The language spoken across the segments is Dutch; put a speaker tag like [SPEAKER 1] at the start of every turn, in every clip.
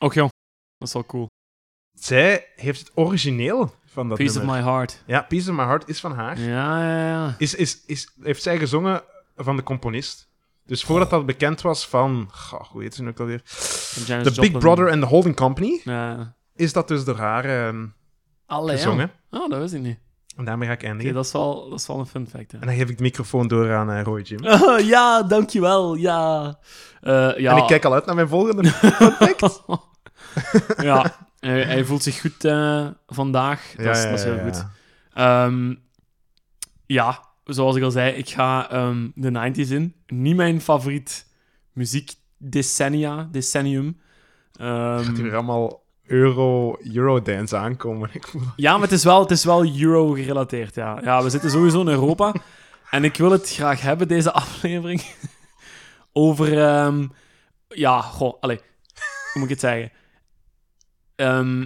[SPEAKER 1] Och joh, dat is wel cool.
[SPEAKER 2] Zij heeft het origineel van dat
[SPEAKER 1] Piece of
[SPEAKER 2] nummer.
[SPEAKER 1] my heart.
[SPEAKER 2] Ja, Piece of My Heart is van haar.
[SPEAKER 1] Ja, ja, ja.
[SPEAKER 2] Is, is, is, heeft zij gezongen van de componist. Dus voordat dat bekend was van... Goh, hoe heet ze nu ook alweer?
[SPEAKER 1] Van Janis
[SPEAKER 2] The Big
[SPEAKER 1] Joplin.
[SPEAKER 2] Brother and the Holding Company.
[SPEAKER 1] Ja.
[SPEAKER 2] Is dat dus door haar ehm,
[SPEAKER 1] Allee, ja.
[SPEAKER 2] gezongen.
[SPEAKER 1] Oh, dat wist ik niet.
[SPEAKER 2] En daarmee ga ik
[SPEAKER 1] Oké,
[SPEAKER 2] eindigen.
[SPEAKER 1] dat, is wel, dat is wel een fun fact, hè.
[SPEAKER 2] En dan geef ik de microfoon door aan eh, Roy Jim.
[SPEAKER 1] ja, dankjewel, ja. Eh, ja.
[SPEAKER 2] En ik kijk al uit naar mijn volgende.
[SPEAKER 1] ja, hij, hij voelt zich goed eh, vandaag. Dat, is, dat is heel
[SPEAKER 2] ja,
[SPEAKER 1] goed.
[SPEAKER 2] ja.
[SPEAKER 1] Ehm, ja, zoals ik al zei, ik ga ehm, de 90s in. Niet mijn favoriet muziekdecennia, decennium. Ehm,
[SPEAKER 2] Gaat hier allemaal Euro, Eurodance aankomen. Ik voel dat.
[SPEAKER 1] ja, maar het is wel, het is wel euro-gerelateerd, ja. Ja, we zitten sowieso in Europa. En ik wil het graag hebben, deze aflevering, over... ehm, ja, goh, allee, hoe moet ik het zeggen? Ehm,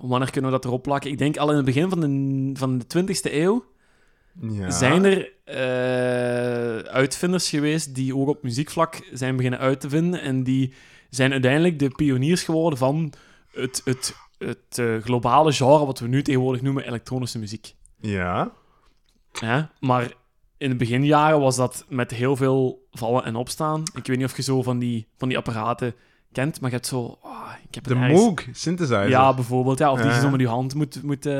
[SPEAKER 1] wanneer kunnen we dat erop plakken? Ik denk al in het begin van de, van de 20e eeuw
[SPEAKER 2] Ja.
[SPEAKER 1] zijn er eh, uitvinders geweest die ook op muziekvlak zijn beginnen uit te vinden. En die zijn uiteindelijk de pioniers geworden van het, het, het eh, globale genre wat we nu tegenwoordig noemen elektronische muziek.
[SPEAKER 2] Ja.
[SPEAKER 1] Hè? Maar in de beginjaren was dat met heel veel vallen en opstaan. Ik weet niet of je zo van die, van die apparaten kent, maar je hebt zo... ah, ik heb het
[SPEAKER 2] De
[SPEAKER 1] ergens-
[SPEAKER 2] Moog synthesizer.
[SPEAKER 1] Ja, bijvoorbeeld. Ja, of die je
[SPEAKER 2] Ja.
[SPEAKER 1] zo met je hand moet... moet eh,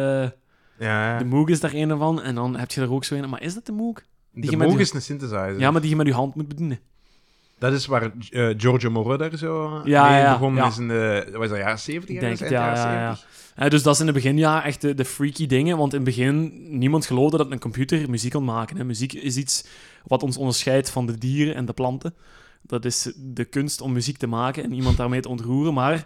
[SPEAKER 2] ja.
[SPEAKER 1] de
[SPEAKER 2] De,
[SPEAKER 1] Moog is daar een van. En dan heb je er ook zo een... Maar is dat de Moog? die je met
[SPEAKER 2] Moog
[SPEAKER 1] die-
[SPEAKER 2] is een synthesizer.
[SPEAKER 1] Ja, maar die je met je hand moet bedienen.
[SPEAKER 2] Dat is waar eh, Giorgio Moroder daar zo
[SPEAKER 1] Ja,
[SPEAKER 2] mee
[SPEAKER 1] ja,
[SPEAKER 2] begonnen
[SPEAKER 1] ja.
[SPEAKER 2] is in de... Wat is dat, jaren 70?
[SPEAKER 1] Ik denk het,
[SPEAKER 2] ergens?
[SPEAKER 1] ja.
[SPEAKER 2] Eind
[SPEAKER 1] ja,
[SPEAKER 2] jaren
[SPEAKER 1] ja.
[SPEAKER 2] 70?
[SPEAKER 1] Eh, dus dat is in het begin ja echt de, de freaky dingen. Want in het begin, niemand geloofde dat een computer muziek kon maken. Hè. Muziek is iets wat ons onderscheidt van de dieren en de planten. Dat is de kunst om muziek te maken en iemand daarmee te ontroeren. Maar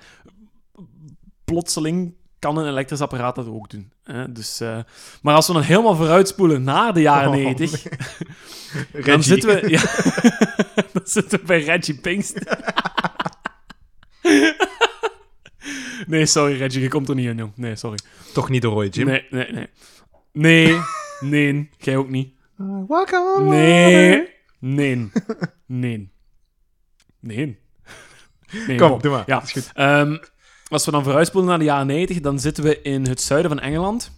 [SPEAKER 1] plotseling kan een elektrisch apparaat dat ook doen. Hè. Dus, eh, maar als we dan helemaal vooruitspoelen naar de jaren
[SPEAKER 2] Oh,
[SPEAKER 1] 90, dan
[SPEAKER 2] Reggie.
[SPEAKER 1] zitten we... Ja, dan zitten we bij Reggie Pinkst. nee, sorry Reggie, je komt er niet in, jong. Nee, sorry.
[SPEAKER 2] Toch niet de Roy Jim.
[SPEAKER 1] Nee, nee, nee. Nee, nee, jij ook niet.
[SPEAKER 2] Uh, welcome.
[SPEAKER 1] Nee, nee, nee. Nee. Nee,
[SPEAKER 2] Kom,
[SPEAKER 1] Bob.
[SPEAKER 2] doe maar.
[SPEAKER 1] Ja.
[SPEAKER 2] Is goed.
[SPEAKER 1] Ehm, als we dan vooruitspoelen naar de jaren 90, dan zitten we in het zuiden van Engeland.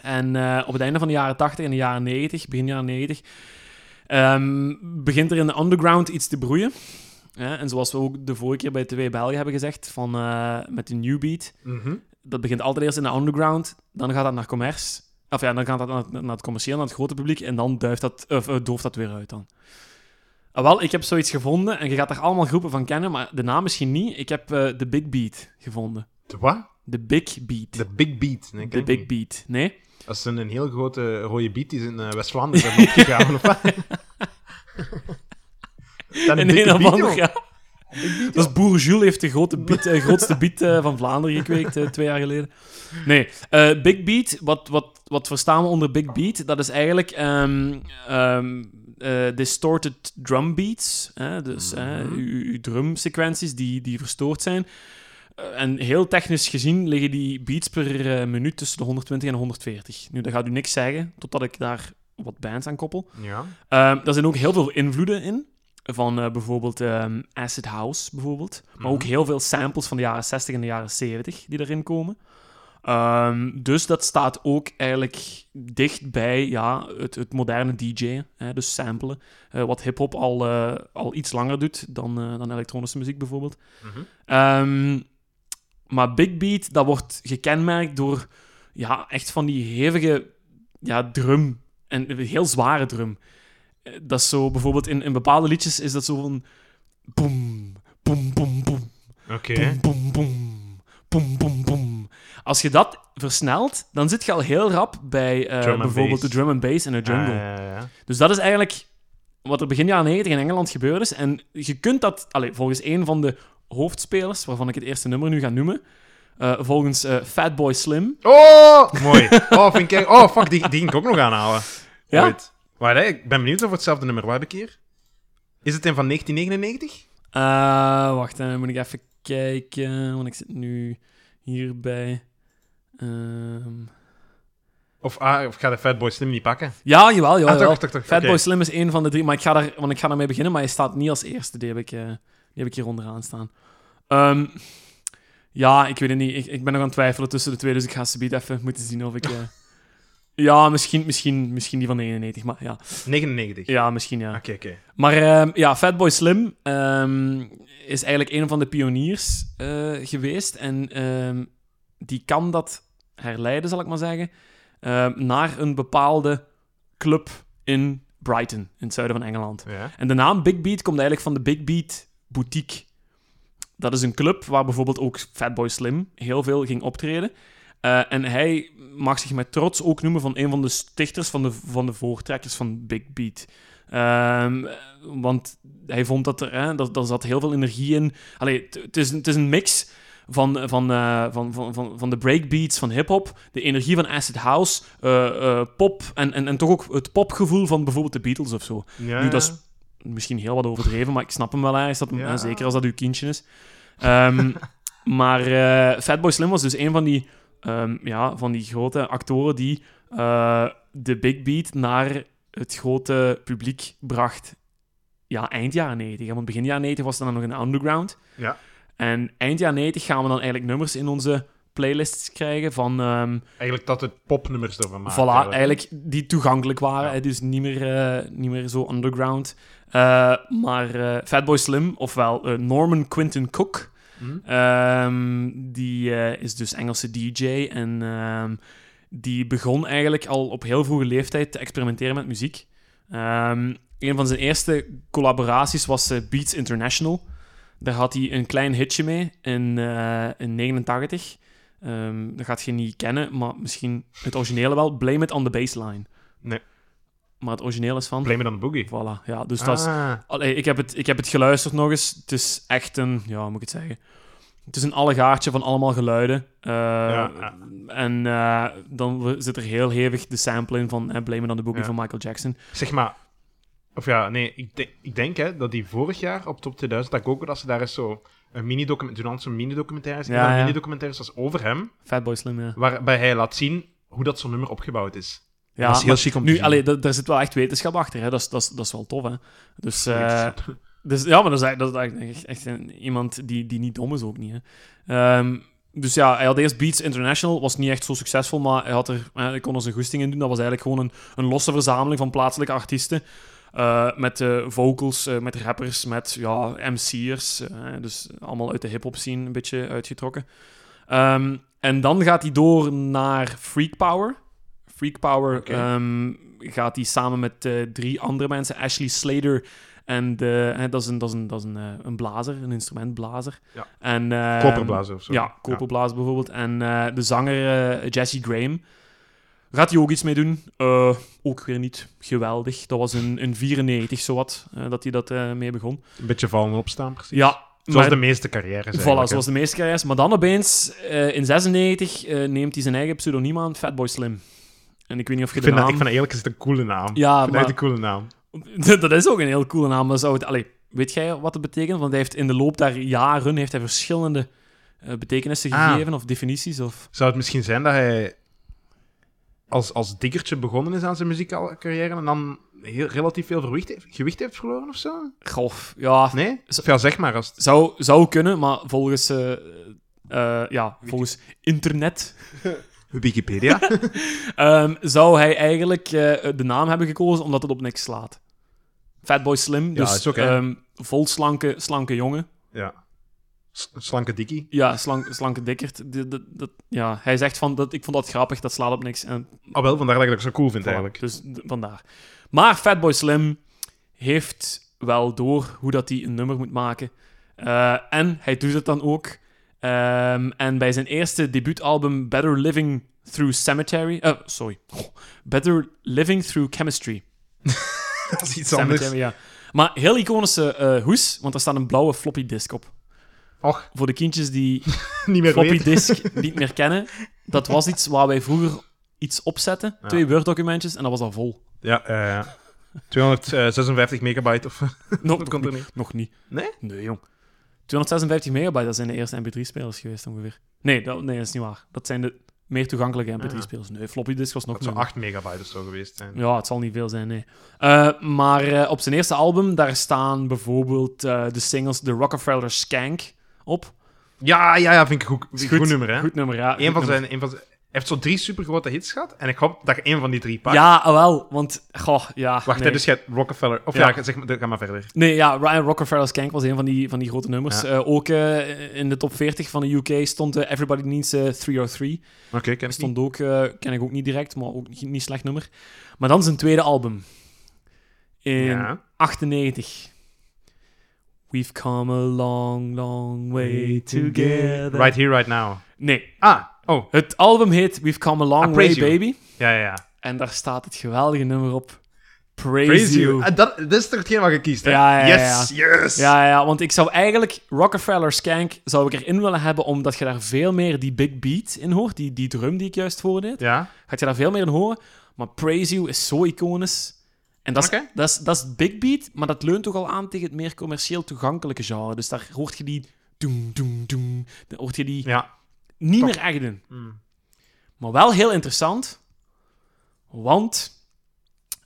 [SPEAKER 1] En eh, op het einde van de jaren 80 en de jaren 90, begin jaren 90, ehm, begint er in de underground iets te broeien. Ja, en zoals we ook de vorige keer bij TV België hebben gezegd, van, eh, met de New Beat
[SPEAKER 2] Mhm.
[SPEAKER 1] dat begint altijd eerst in de underground, dan gaat dat naar commerce. Of ja, dan gaat dat naar, naar het commercieel, naar het grote publiek, en dan duift dat, of, eh, dooft dat weer uit dan. Ah, wel, ik heb zoiets gevonden, en je gaat daar allemaal groepen van kennen, maar de naam misschien niet. Ik heb eh, de Big Beat gevonden.
[SPEAKER 2] De wat?
[SPEAKER 1] De Big Beat.
[SPEAKER 2] De Big Beat. Nee, ik
[SPEAKER 1] de
[SPEAKER 2] denk
[SPEAKER 1] Big
[SPEAKER 2] niet.
[SPEAKER 1] Beat. Nee?
[SPEAKER 2] Dat is een, een heel grote rode beat die is in eh, West-Vlaanderen hebben opgegaan, of wat? Dan
[SPEAKER 1] En
[SPEAKER 2] dikke
[SPEAKER 1] een of
[SPEAKER 2] beat,
[SPEAKER 1] ander,
[SPEAKER 2] joh.
[SPEAKER 1] ja. Dat is Boer Jules heeft de grote beat, eh, grootste beat eh, van Vlaanderen gekweekt eh, twee jaar geleden. Nee, eh, Big Beat, wat, wat, wat verstaan we onder Big Beat? Dat is eigenlijk ehm, ehm, eh, distorted drum beats. Hè? Dus hè, uw- uw uw drumsequenties die, die verstoord zijn. Eh, En heel technisch gezien liggen die beats per eh, minuut tussen de 120 en 140. Nu, dat gaat u niks zeggen, totdat ik daar wat bands aan koppel.
[SPEAKER 2] Ja.
[SPEAKER 1] Ehm daar zijn ook heel veel invloeden in. Van eh, bijvoorbeeld ehm, Acid House, bijvoorbeeld. Maar ook heel veel samples van de jaren 60 en de jaren 70 die erin komen. Ehm, dus dat staat ook eigenlijk dicht bij ja, het, het moderne DJ, hè, dus samplen. Eh, wat hip-hop al, eh, al iets langer doet dan, eh, dan elektronische muziek bijvoorbeeld.
[SPEAKER 2] Mhm.
[SPEAKER 1] Ehm, maar Big Beat, dat wordt gekenmerkt door ja, echt van die hevige ja, drum. En een heel zware drum. Eh, Dat is zo bijvoorbeeld in, in bepaalde liedjes is dat zo van. Boem, boem, boem, boem.
[SPEAKER 2] Oké.
[SPEAKER 1] Boem, boem, boem. Boem, boem, boem. Als je dat versnelt, dan zit je al heel rap bij eh,
[SPEAKER 2] Drum and
[SPEAKER 1] bijvoorbeeld de
[SPEAKER 2] bass.
[SPEAKER 1] drum and bass in de jungle.
[SPEAKER 2] Ah, ja, ja, ja.
[SPEAKER 1] Dus dat is eigenlijk wat er begin jaren 90 in Engeland gebeurd is. En je kunt dat, allee, volgens een van de hoofdspelers, waarvan ik het eerste nummer nu ga noemen, eh, volgens eh, Fatboy Slim.
[SPEAKER 2] Oh, mooi. Oh, vind ik, echt- oh fuck, die, die ging ik ook nog aanhalen.
[SPEAKER 1] Ja?
[SPEAKER 2] Ooit. Waar, hè? Ik ben benieuwd of we hetzelfde nummer waar heb ik hier? Is het een van 1999?
[SPEAKER 1] Eh, wacht, dan moet ik even kijken, want ik zit nu hierbij. Ehm,
[SPEAKER 2] Of, ah, of ga de Fatboy Slim niet pakken?
[SPEAKER 1] Ja, jawel, jawel.
[SPEAKER 2] Ah,
[SPEAKER 1] jawel.
[SPEAKER 2] toch, toch, toch.
[SPEAKER 1] Fatboy
[SPEAKER 2] Oké.
[SPEAKER 1] Slim is een van de drie, maar ik ga daar, want ik ga daarmee beginnen, maar hij staat niet als eerste. Die heb ik, eh, die heb ik hier onderaan staan. Ehm, Ehm, ja, ik weet het niet. Ik, ik ben nog aan het twijfelen tussen de twee, dus ik ga ze even moeten zien of ik... eh, ja, misschien, misschien, misschien die van 99, maar ja.
[SPEAKER 2] 99.
[SPEAKER 1] Ja, misschien ja.
[SPEAKER 2] Oké, oké.
[SPEAKER 1] Maar ehm, ja, Fatboy Slim ehm, is eigenlijk een van de pioniers eh, geweest. En ehm, die kan dat herleiden, zal ik maar zeggen, ehm, naar een bepaalde club in Brighton, in het zuiden van Engeland.
[SPEAKER 2] Ja.
[SPEAKER 1] En de naam Big Beat komt eigenlijk van de Big Beat Boutique. Dat is een club waar bijvoorbeeld ook Fatboy Slim heel veel ging optreden. Eh, en hij mag zich met trots ook noemen van een van de stichters van de, van de voortrekkers van Big Beat. Ehm, want hij vond dat er, hè, dat, daar zat heel veel energie in. Allee, het- het is, een- het is een mix van, van, eh, van, van, van, van de breakbeats van hip-hop, de energie van acid house, eh, eh, pop en, en, en toch ook het popgevoel van bijvoorbeeld de Beatles of zo
[SPEAKER 2] Ja,
[SPEAKER 1] Nu, dat is- misschien heel wat overdreven, maar ik snap hem wel ergens. Dat, hem-
[SPEAKER 2] Ja.
[SPEAKER 1] en Zeker als dat uw kindje is. Ehm, maar eh, Fatboy Slim was dus een van die, ehm, ja, van die grote actoren die eh, de Big Beat naar het grote publiek bracht. Ja, eind jaren 90. hè, Want begin jaren 90 was het dan nog in de underground.
[SPEAKER 2] Ja.
[SPEAKER 1] En eind jaren 90 gaan we dan eigenlijk nummers in onze playlists krijgen van... ehm,
[SPEAKER 2] Eigenlijk dat het popnummers ervan maken.
[SPEAKER 1] voilà,
[SPEAKER 2] eigenlijk.
[SPEAKER 1] eigenlijk die toegankelijk waren.
[SPEAKER 2] Ja.
[SPEAKER 1] hè, Dus niet meer, eh, niet meer zo underground. Eh, maar eh, Fatboy Slim, ofwel eh, Norman Quinton Cook,
[SPEAKER 2] Mhm.
[SPEAKER 1] ehm, die eh, is dus Engelse DJ. En ehm, die begon eigenlijk al op heel vroege leeftijd te experimenteren met muziek. Ehm, een van zijn eerste collaboraties was eh, Beats International. Daar had hij een klein hitje mee in, eh in 89. Ehm, dat gaat je niet kennen, maar misschien het originele wel. Blame It on the Baseline.
[SPEAKER 2] Nee.
[SPEAKER 1] Maar het origineel is van...
[SPEAKER 2] Blame it on the boogie.
[SPEAKER 1] Voilà, ja. Dus dat is...
[SPEAKER 2] Ah,
[SPEAKER 1] Allee, ik, heb het, ik heb het geluisterd nog eens. Het is echt een... Ja, hoe moet ik het zeggen? Het is een allegaartje van allemaal geluiden. Eh,
[SPEAKER 2] Ja.
[SPEAKER 1] En eh, dan we- zit er heel hevig de sample in van eh, Blame It on the Boogie
[SPEAKER 2] Ja.
[SPEAKER 1] van Michael Jackson.
[SPEAKER 2] Zeg maar... Of ja, nee, ik, denk- ik denk hè, dat die vorig jaar op Top 2000, dat ik ook dat ze daar eens zo een mini-document, toen hadden ze een mini-documentaire, is,
[SPEAKER 1] Ja,
[SPEAKER 2] ja,
[SPEAKER 1] ja.
[SPEAKER 2] mini-documentaire was over hem,
[SPEAKER 1] Fatboy Slim, ja.
[SPEAKER 2] waarbij hij laat zien hoe dat zo'n nummer opgebouwd is.
[SPEAKER 1] Ja,
[SPEAKER 2] dat is heel
[SPEAKER 1] maar
[SPEAKER 2] chic om te
[SPEAKER 1] nu,
[SPEAKER 2] zien.
[SPEAKER 1] allee, da- daar zit wel echt wetenschap achter. Hè? Dat, is, dat, is, dat is wel tof, hè. Dus, eh,
[SPEAKER 2] Wetenschap.
[SPEAKER 1] dus ja, maar dat is, eigenlijk- dat is eigenlijk echt, echt een- iemand die, die niet dom is ook niet, hè. Ehm, dus ja, hij had eerst Beats International, was niet echt zo succesvol, maar hij, had er, eh, hij kon er zijn goesting in doen. Dat was eigenlijk gewoon een, een losse verzameling van plaatselijke artiesten. eh, met eh, vocals, eh, met rappers, met ja, MC'ers. eh, dus allemaal uit de hip-hop scene een beetje uitgetrokken. Ehm, en dan gaat hij door naar Freak Power. Freak Power
[SPEAKER 2] Oké.
[SPEAKER 1] ehm, gaat hij samen met eh, drie andere mensen, Ashley Slater. En eh, hè, dat is, een, dat is, een, dat is een, eh, een blazer, een instrumentblazer.
[SPEAKER 2] Ja.
[SPEAKER 1] En, ehm,
[SPEAKER 2] Koperblazen of zo.
[SPEAKER 1] ja, Koperblaas bijvoorbeeld. En eh, de zanger eh, Jesse Graham. Gaat hij ook iets mee doen? Eh, ook weer niet geweldig. Dat was in, in 94 zowat eh, dat hij dat eh, mee begon.
[SPEAKER 2] Een beetje vallen en opstaan, precies.
[SPEAKER 1] Ja,
[SPEAKER 2] Zoals
[SPEAKER 1] maar-
[SPEAKER 2] de meeste carrières
[SPEAKER 1] Voilà,
[SPEAKER 2] eigenlijk, hè.
[SPEAKER 1] zoals de meeste carrières. Maar dan opeens, eh, in 96, eh, neemt hij zijn eigen pseudoniem aan, Fatboy Slim. En ik weet niet of je
[SPEAKER 2] Ik
[SPEAKER 1] de
[SPEAKER 2] vind, dat,
[SPEAKER 1] naam...
[SPEAKER 2] ik vind dat eerlijk gezegd een coole naam.
[SPEAKER 1] Ja,
[SPEAKER 2] ik vind dat
[SPEAKER 1] maar-
[SPEAKER 2] echt een coole naam.
[SPEAKER 1] dat is ook een heel coole naam. Maar zou het... Allee, weet jij wat het betekent? Want hij heeft in de loop der jaren heeft hij verschillende eh, betekenissen
[SPEAKER 2] Ah.
[SPEAKER 1] gegeven of definities. Of...
[SPEAKER 2] Zou het misschien zijn dat hij als, als diggertje begonnen is aan zijn muzikale carrière en dan heel, relatief veel verwicht heeft, gewicht heeft verloren of zo?
[SPEAKER 1] Goh, ja,
[SPEAKER 2] Nee? Of ja, zeg maar. Als, het-
[SPEAKER 1] Zou, zou kunnen, maar volgens, eh, eh, ja, volgens internet
[SPEAKER 2] Wikipedia?
[SPEAKER 1] ehm, zou hij eigenlijk eh, de naam hebben gekozen omdat het op niks slaat. Fatboy Slim, dus
[SPEAKER 2] is ook, hè.
[SPEAKER 1] ehm, vol slanke, slanke jongen.
[SPEAKER 2] ja. S- Slanke dikkie.
[SPEAKER 1] Ja, slank, slanke dikkerd. Dat, dat, dat- ja. Hij zegt van, dat, ik vond dat grappig, dat slaat op niks. En
[SPEAKER 2] Ah wel, vandaar dat ik dat zo cool vind
[SPEAKER 1] Voilà,
[SPEAKER 2] eigenlijk.
[SPEAKER 1] Dus d- vandaar. Maar Fatboy Slim heeft wel door hoe dat hij een nummer moet maken. Eh, en hij doet het dan ook. Ehm, en bij zijn eerste debuutalbum Better Living Through Cemetery... eh, sorry. Better Living Through Chemistry.
[SPEAKER 2] Dat is iets
[SPEAKER 1] Cemetery,
[SPEAKER 2] anders.
[SPEAKER 1] ja. Maar heel iconische eh, hoes, want daar staat een blauwe floppy disk op.
[SPEAKER 2] Och,
[SPEAKER 1] Voor de kindjes die
[SPEAKER 2] niet meer
[SPEAKER 1] floppy
[SPEAKER 2] weten.
[SPEAKER 1] disk niet meer kennen, dat was iets waar wij vroeger iets opzetten.
[SPEAKER 2] Ja.
[SPEAKER 1] Twee Word-documentjes en dat was al vol.
[SPEAKER 2] Ja, eh, ja. 256 megabyte of...
[SPEAKER 1] Nog,
[SPEAKER 2] Dat
[SPEAKER 1] nog,
[SPEAKER 2] komt er
[SPEAKER 1] niet. nog niet.
[SPEAKER 2] Nee?
[SPEAKER 1] Nee, jong. 256 megabyte, dat zijn de eerste MP3-spelers geweest ongeveer. Nee dat, nee, dat is niet waar. Dat zijn de meer toegankelijke MP3-spelers. Nee, floppy disk was nog
[SPEAKER 2] Ah. Dat zou
[SPEAKER 1] nieuwer.
[SPEAKER 2] 8 megabyte of zo geweest zijn.
[SPEAKER 1] Ja, het zal niet veel zijn, nee. Eh, maar eh, op zijn eerste album, daar staan bijvoorbeeld eh, de singles The Rockefeller Skank op.
[SPEAKER 2] Ja, ja, ja, vind ik goed.
[SPEAKER 1] Is
[SPEAKER 2] Goed, nummer, hè?
[SPEAKER 1] Goed nummer, ja.
[SPEAKER 2] Eén
[SPEAKER 1] Goed
[SPEAKER 2] van
[SPEAKER 1] nummer.
[SPEAKER 2] zijn, een van zijn, hij heeft zo drie supergrote hits gehad. En ik hoop dat je één van die drie pakt.
[SPEAKER 1] Ja, ah, wel, want... Goh, ja.
[SPEAKER 2] Wacht,
[SPEAKER 1] nee.
[SPEAKER 2] hè, dus je hebt Rockefeller. Of
[SPEAKER 1] Ja.
[SPEAKER 2] ja, zeg maar, ga maar verder.
[SPEAKER 1] Nee, ja, Ryan Rockefeller's Skank was een van die, van die grote nummers.
[SPEAKER 2] Ja.
[SPEAKER 1] Eh, ook eh, in de top 40 van de UK stond eh, Everybody Needs eh, 303.
[SPEAKER 2] Oké, ken ik niet.
[SPEAKER 1] Stond ook, eh, ken ik ook niet direct, maar ook niet, niet slecht nummer. Maar dan zijn tweede album. In
[SPEAKER 2] Ja.
[SPEAKER 1] 98. We've come a long, long way together.
[SPEAKER 2] Right here, right now.
[SPEAKER 1] Nee,
[SPEAKER 2] Ah, oh.
[SPEAKER 1] het album heet We've come a long
[SPEAKER 2] Ah,
[SPEAKER 1] way,
[SPEAKER 2] Praise You.
[SPEAKER 1] baby.
[SPEAKER 2] Ja, ja, ja.
[SPEAKER 1] En daar staat het geweldige nummer op. Praise,
[SPEAKER 2] Praise
[SPEAKER 1] you.
[SPEAKER 2] you. Ah, dat, dat is toch hetgeen wat je kiest, hè?
[SPEAKER 1] Ja, ja, ja,
[SPEAKER 2] yes, yes.
[SPEAKER 1] Ja, ja, want ik zou eigenlijk Rockefeller Skank zou ik erin willen hebben, omdat je daar veel meer die big beat in hoort, die, die drum die ik juist voordeed.
[SPEAKER 2] Ja.
[SPEAKER 1] Gaat je daar veel meer in horen, maar Praise You is zo iconisch. En dat is,
[SPEAKER 2] Oké.
[SPEAKER 1] dat, is, dat is big beat, maar dat leunt toch al aan tegen het meer commercieel toegankelijke genre. Dus daar hoort je die doem, doem, doem, daar hoort je die
[SPEAKER 2] Ja.
[SPEAKER 1] niet
[SPEAKER 2] Toch.
[SPEAKER 1] meer echt in.
[SPEAKER 2] Mm.
[SPEAKER 1] Maar wel heel interessant, want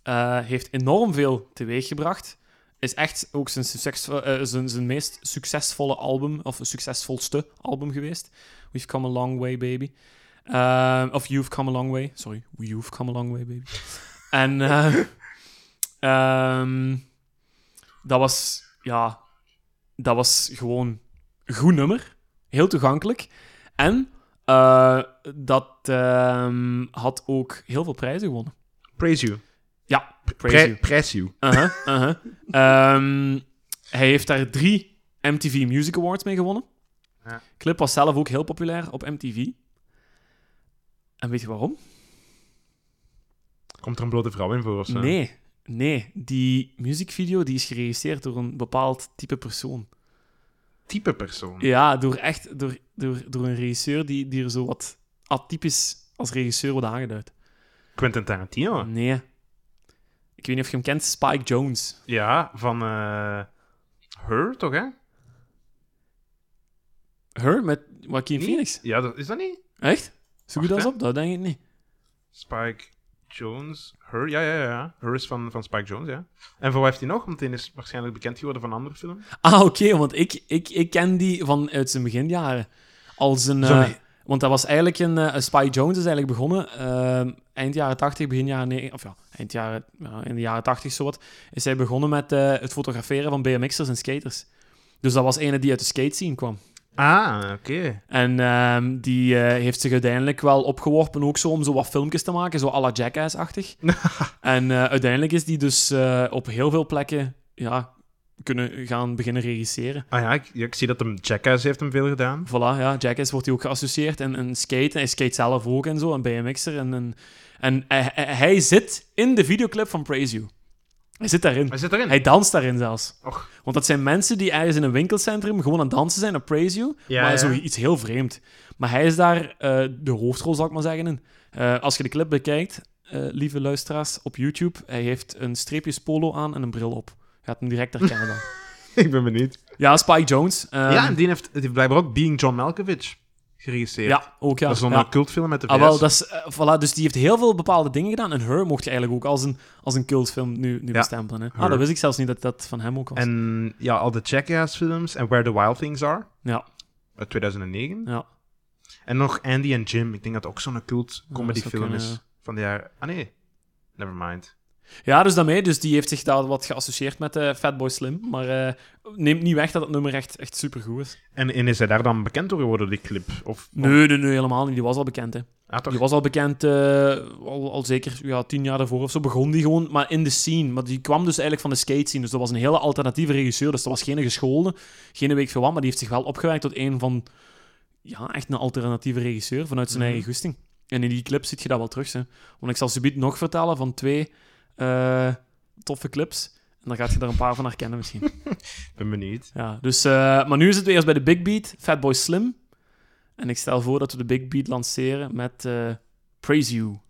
[SPEAKER 1] eh, heeft enorm veel teweeggebracht. Is echt ook zijn, succes- eh, zijn, zijn meest succesvolle album, of succesvolste album geweest. We've Come a Long Way, Baby. Eh, of You've Come a Long Way. Sorry, You've Come a Long Way, Baby. en eh, ehm, dat was, ja, dat was gewoon een goed nummer. Heel toegankelijk. En eh, dat ehm, had ook heel veel prijzen gewonnen.
[SPEAKER 2] Praise you.
[SPEAKER 1] Ja,
[SPEAKER 2] Pri-
[SPEAKER 1] Praise You.
[SPEAKER 2] praise you.
[SPEAKER 1] Uh-huh, uh-huh. Ehm, hij heeft daar drie MTV Music Awards mee gewonnen.
[SPEAKER 2] Ja.
[SPEAKER 1] Clip was zelf ook heel populair op MTV. En weet je waarom?
[SPEAKER 2] Komt er een blote vrouw in voor of zo?
[SPEAKER 1] Nee, nee. Die muziekvideo die is geregisseerd door een bepaald type persoon.
[SPEAKER 2] Type persoon.
[SPEAKER 1] Ja, door echt door, door, door een regisseur die, die er zo wat atypisch als regisseur wordt aangeduid.
[SPEAKER 2] Quentin Tarantino.
[SPEAKER 1] Nee. Ik weet niet of je hem kent, Spike Jones.
[SPEAKER 2] Ja, van... eh Her, toch, hè?
[SPEAKER 1] Her met Joaquin
[SPEAKER 2] Niet?
[SPEAKER 1] Phoenix.
[SPEAKER 2] Ja, dat, is dat niet?
[SPEAKER 1] Echt? Zo goed
[SPEAKER 2] Wacht,
[SPEAKER 1] als op?
[SPEAKER 2] hè.
[SPEAKER 1] Dat denk ik niet.
[SPEAKER 2] Spike Jones. Her, ja, ja, ja, ja. Her is van, van Spike Jones, ja. En voor wat heeft hij nog? Want die is waarschijnlijk bekend geworden van een andere film.
[SPEAKER 1] Ah, oké, want ik, ik, ik ken die van uit zijn beginjaren. Als een... eh,
[SPEAKER 2] Zo'n-
[SPEAKER 1] want dat was eigenlijk een... eh, Spy Jones is eigenlijk begonnen ehm, eind jaren 80, begin jaren 90... Of ja, eind jaren... ja, in de jaren 80 zowat. Is hij begonnen met eh, het fotograferen van BMX'ers en skaters. Dus dat was ene die uit de skate scene kwam.
[SPEAKER 2] Ah, oké.
[SPEAKER 1] En ehm, die eh, heeft zich uiteindelijk wel opgeworpen ook zo om zo wat filmpjes te maken, zo à la Jackass-achtig. en eh, uiteindelijk is die dus eh, op heel veel plekken ja, kunnen gaan beginnen regisseren.
[SPEAKER 2] Ah ja ik, ja, ik zie dat hem Jackass heeft hem veel gedaan.
[SPEAKER 1] Voilà, ja, Jackass wordt hij ook geassocieerd en, en skate, hij skate zelf ook en zo, en BMX'er. En, en, en hij, hij- hij zit in de videoclip van Praise You. Hij zit daarin.
[SPEAKER 2] Hij zit erin.
[SPEAKER 1] Hij danst daarin zelfs.
[SPEAKER 2] Och.
[SPEAKER 1] Want dat zijn mensen die ergens in een winkelcentrum gewoon aan het dansen zijn op Praise You.
[SPEAKER 2] Ja,
[SPEAKER 1] maar
[SPEAKER 2] ja.
[SPEAKER 1] zoiets heel vreemd. Maar hij is daar eh, de hoofdrol, zal ik maar zeggen. In. Eh, als je de clip bekijkt, eh, lieve luisteraars, op YouTube. Hij heeft een streepjes polo aan en een bril op. Je gaat hem direct herkennen dan.
[SPEAKER 2] ik ben benieuwd.
[SPEAKER 1] ja, Spike Jones. ehm,
[SPEAKER 2] ja, en die heeft, die heeft blijkbaar ook Being John Malkovich geregisseerd.
[SPEAKER 1] ja, ook ja.
[SPEAKER 2] Dat is zo'n
[SPEAKER 1] ja.
[SPEAKER 2] cultfilm met de VS.
[SPEAKER 1] Ah, wel, dat is, eh, voilà, dus die heeft heel veel bepaalde dingen gedaan. En Her mocht je eigenlijk ook als een, als een cultfilm nu, nu
[SPEAKER 2] Ja,
[SPEAKER 1] bestempelen. Hè? Ah,
[SPEAKER 2] Her.
[SPEAKER 1] dat wist ik zelfs niet dat dat van hem ook was.
[SPEAKER 2] En ja, al de Jackass-films en Where the Wild Things Are
[SPEAKER 1] Ja,
[SPEAKER 2] uit 2009.
[SPEAKER 1] ja.
[SPEAKER 2] En nog Andy en Jim. Ik denk dat ook zo'n cult
[SPEAKER 1] zou
[SPEAKER 2] comedyfilm
[SPEAKER 1] kunnen,
[SPEAKER 2] is
[SPEAKER 1] ja.
[SPEAKER 2] van de jaar. Ah nee, never mind.
[SPEAKER 1] Ja, dus daarmee. Dus die heeft zich daar wat geassocieerd met eh, Fatboy Slim. Maar eh, neemt niet weg dat het nummer echt, echt supergoed is.
[SPEAKER 2] En, en is hij daar dan bekend door geworden, die clip? Of, of-
[SPEAKER 1] Nee, nee, nee, helemaal niet. Die was al bekend, hè.
[SPEAKER 2] Ah, toch?
[SPEAKER 1] Die was al bekend, eh, al, al zeker ja, tien jaar daarvoor of zo, begon die gewoon, maar in de scene. Maar die kwam dus eigenlijk van de skate scene. Dus dat was een hele alternatieve regisseur. Dus dat was geen geschoolde, geen week verwant, maar die heeft zich wel opgewerkt tot een van... Ja, echt een alternatieve regisseur vanuit zijn
[SPEAKER 2] Mhm.
[SPEAKER 1] eigen goesting. En in die clips zit je dat wel terug, hè. Want ik zal subiet nog vertellen van twee eh, toffe clips. En dan gaat je er een paar van herkennen misschien.
[SPEAKER 2] Ik ben benieuwd.
[SPEAKER 1] Ja, dus, eh, maar nu is het weer eerst bij de Big Beat, Fatboy Slim. En ik stel voor dat we de Big Beat lanceren met eh, Praise You.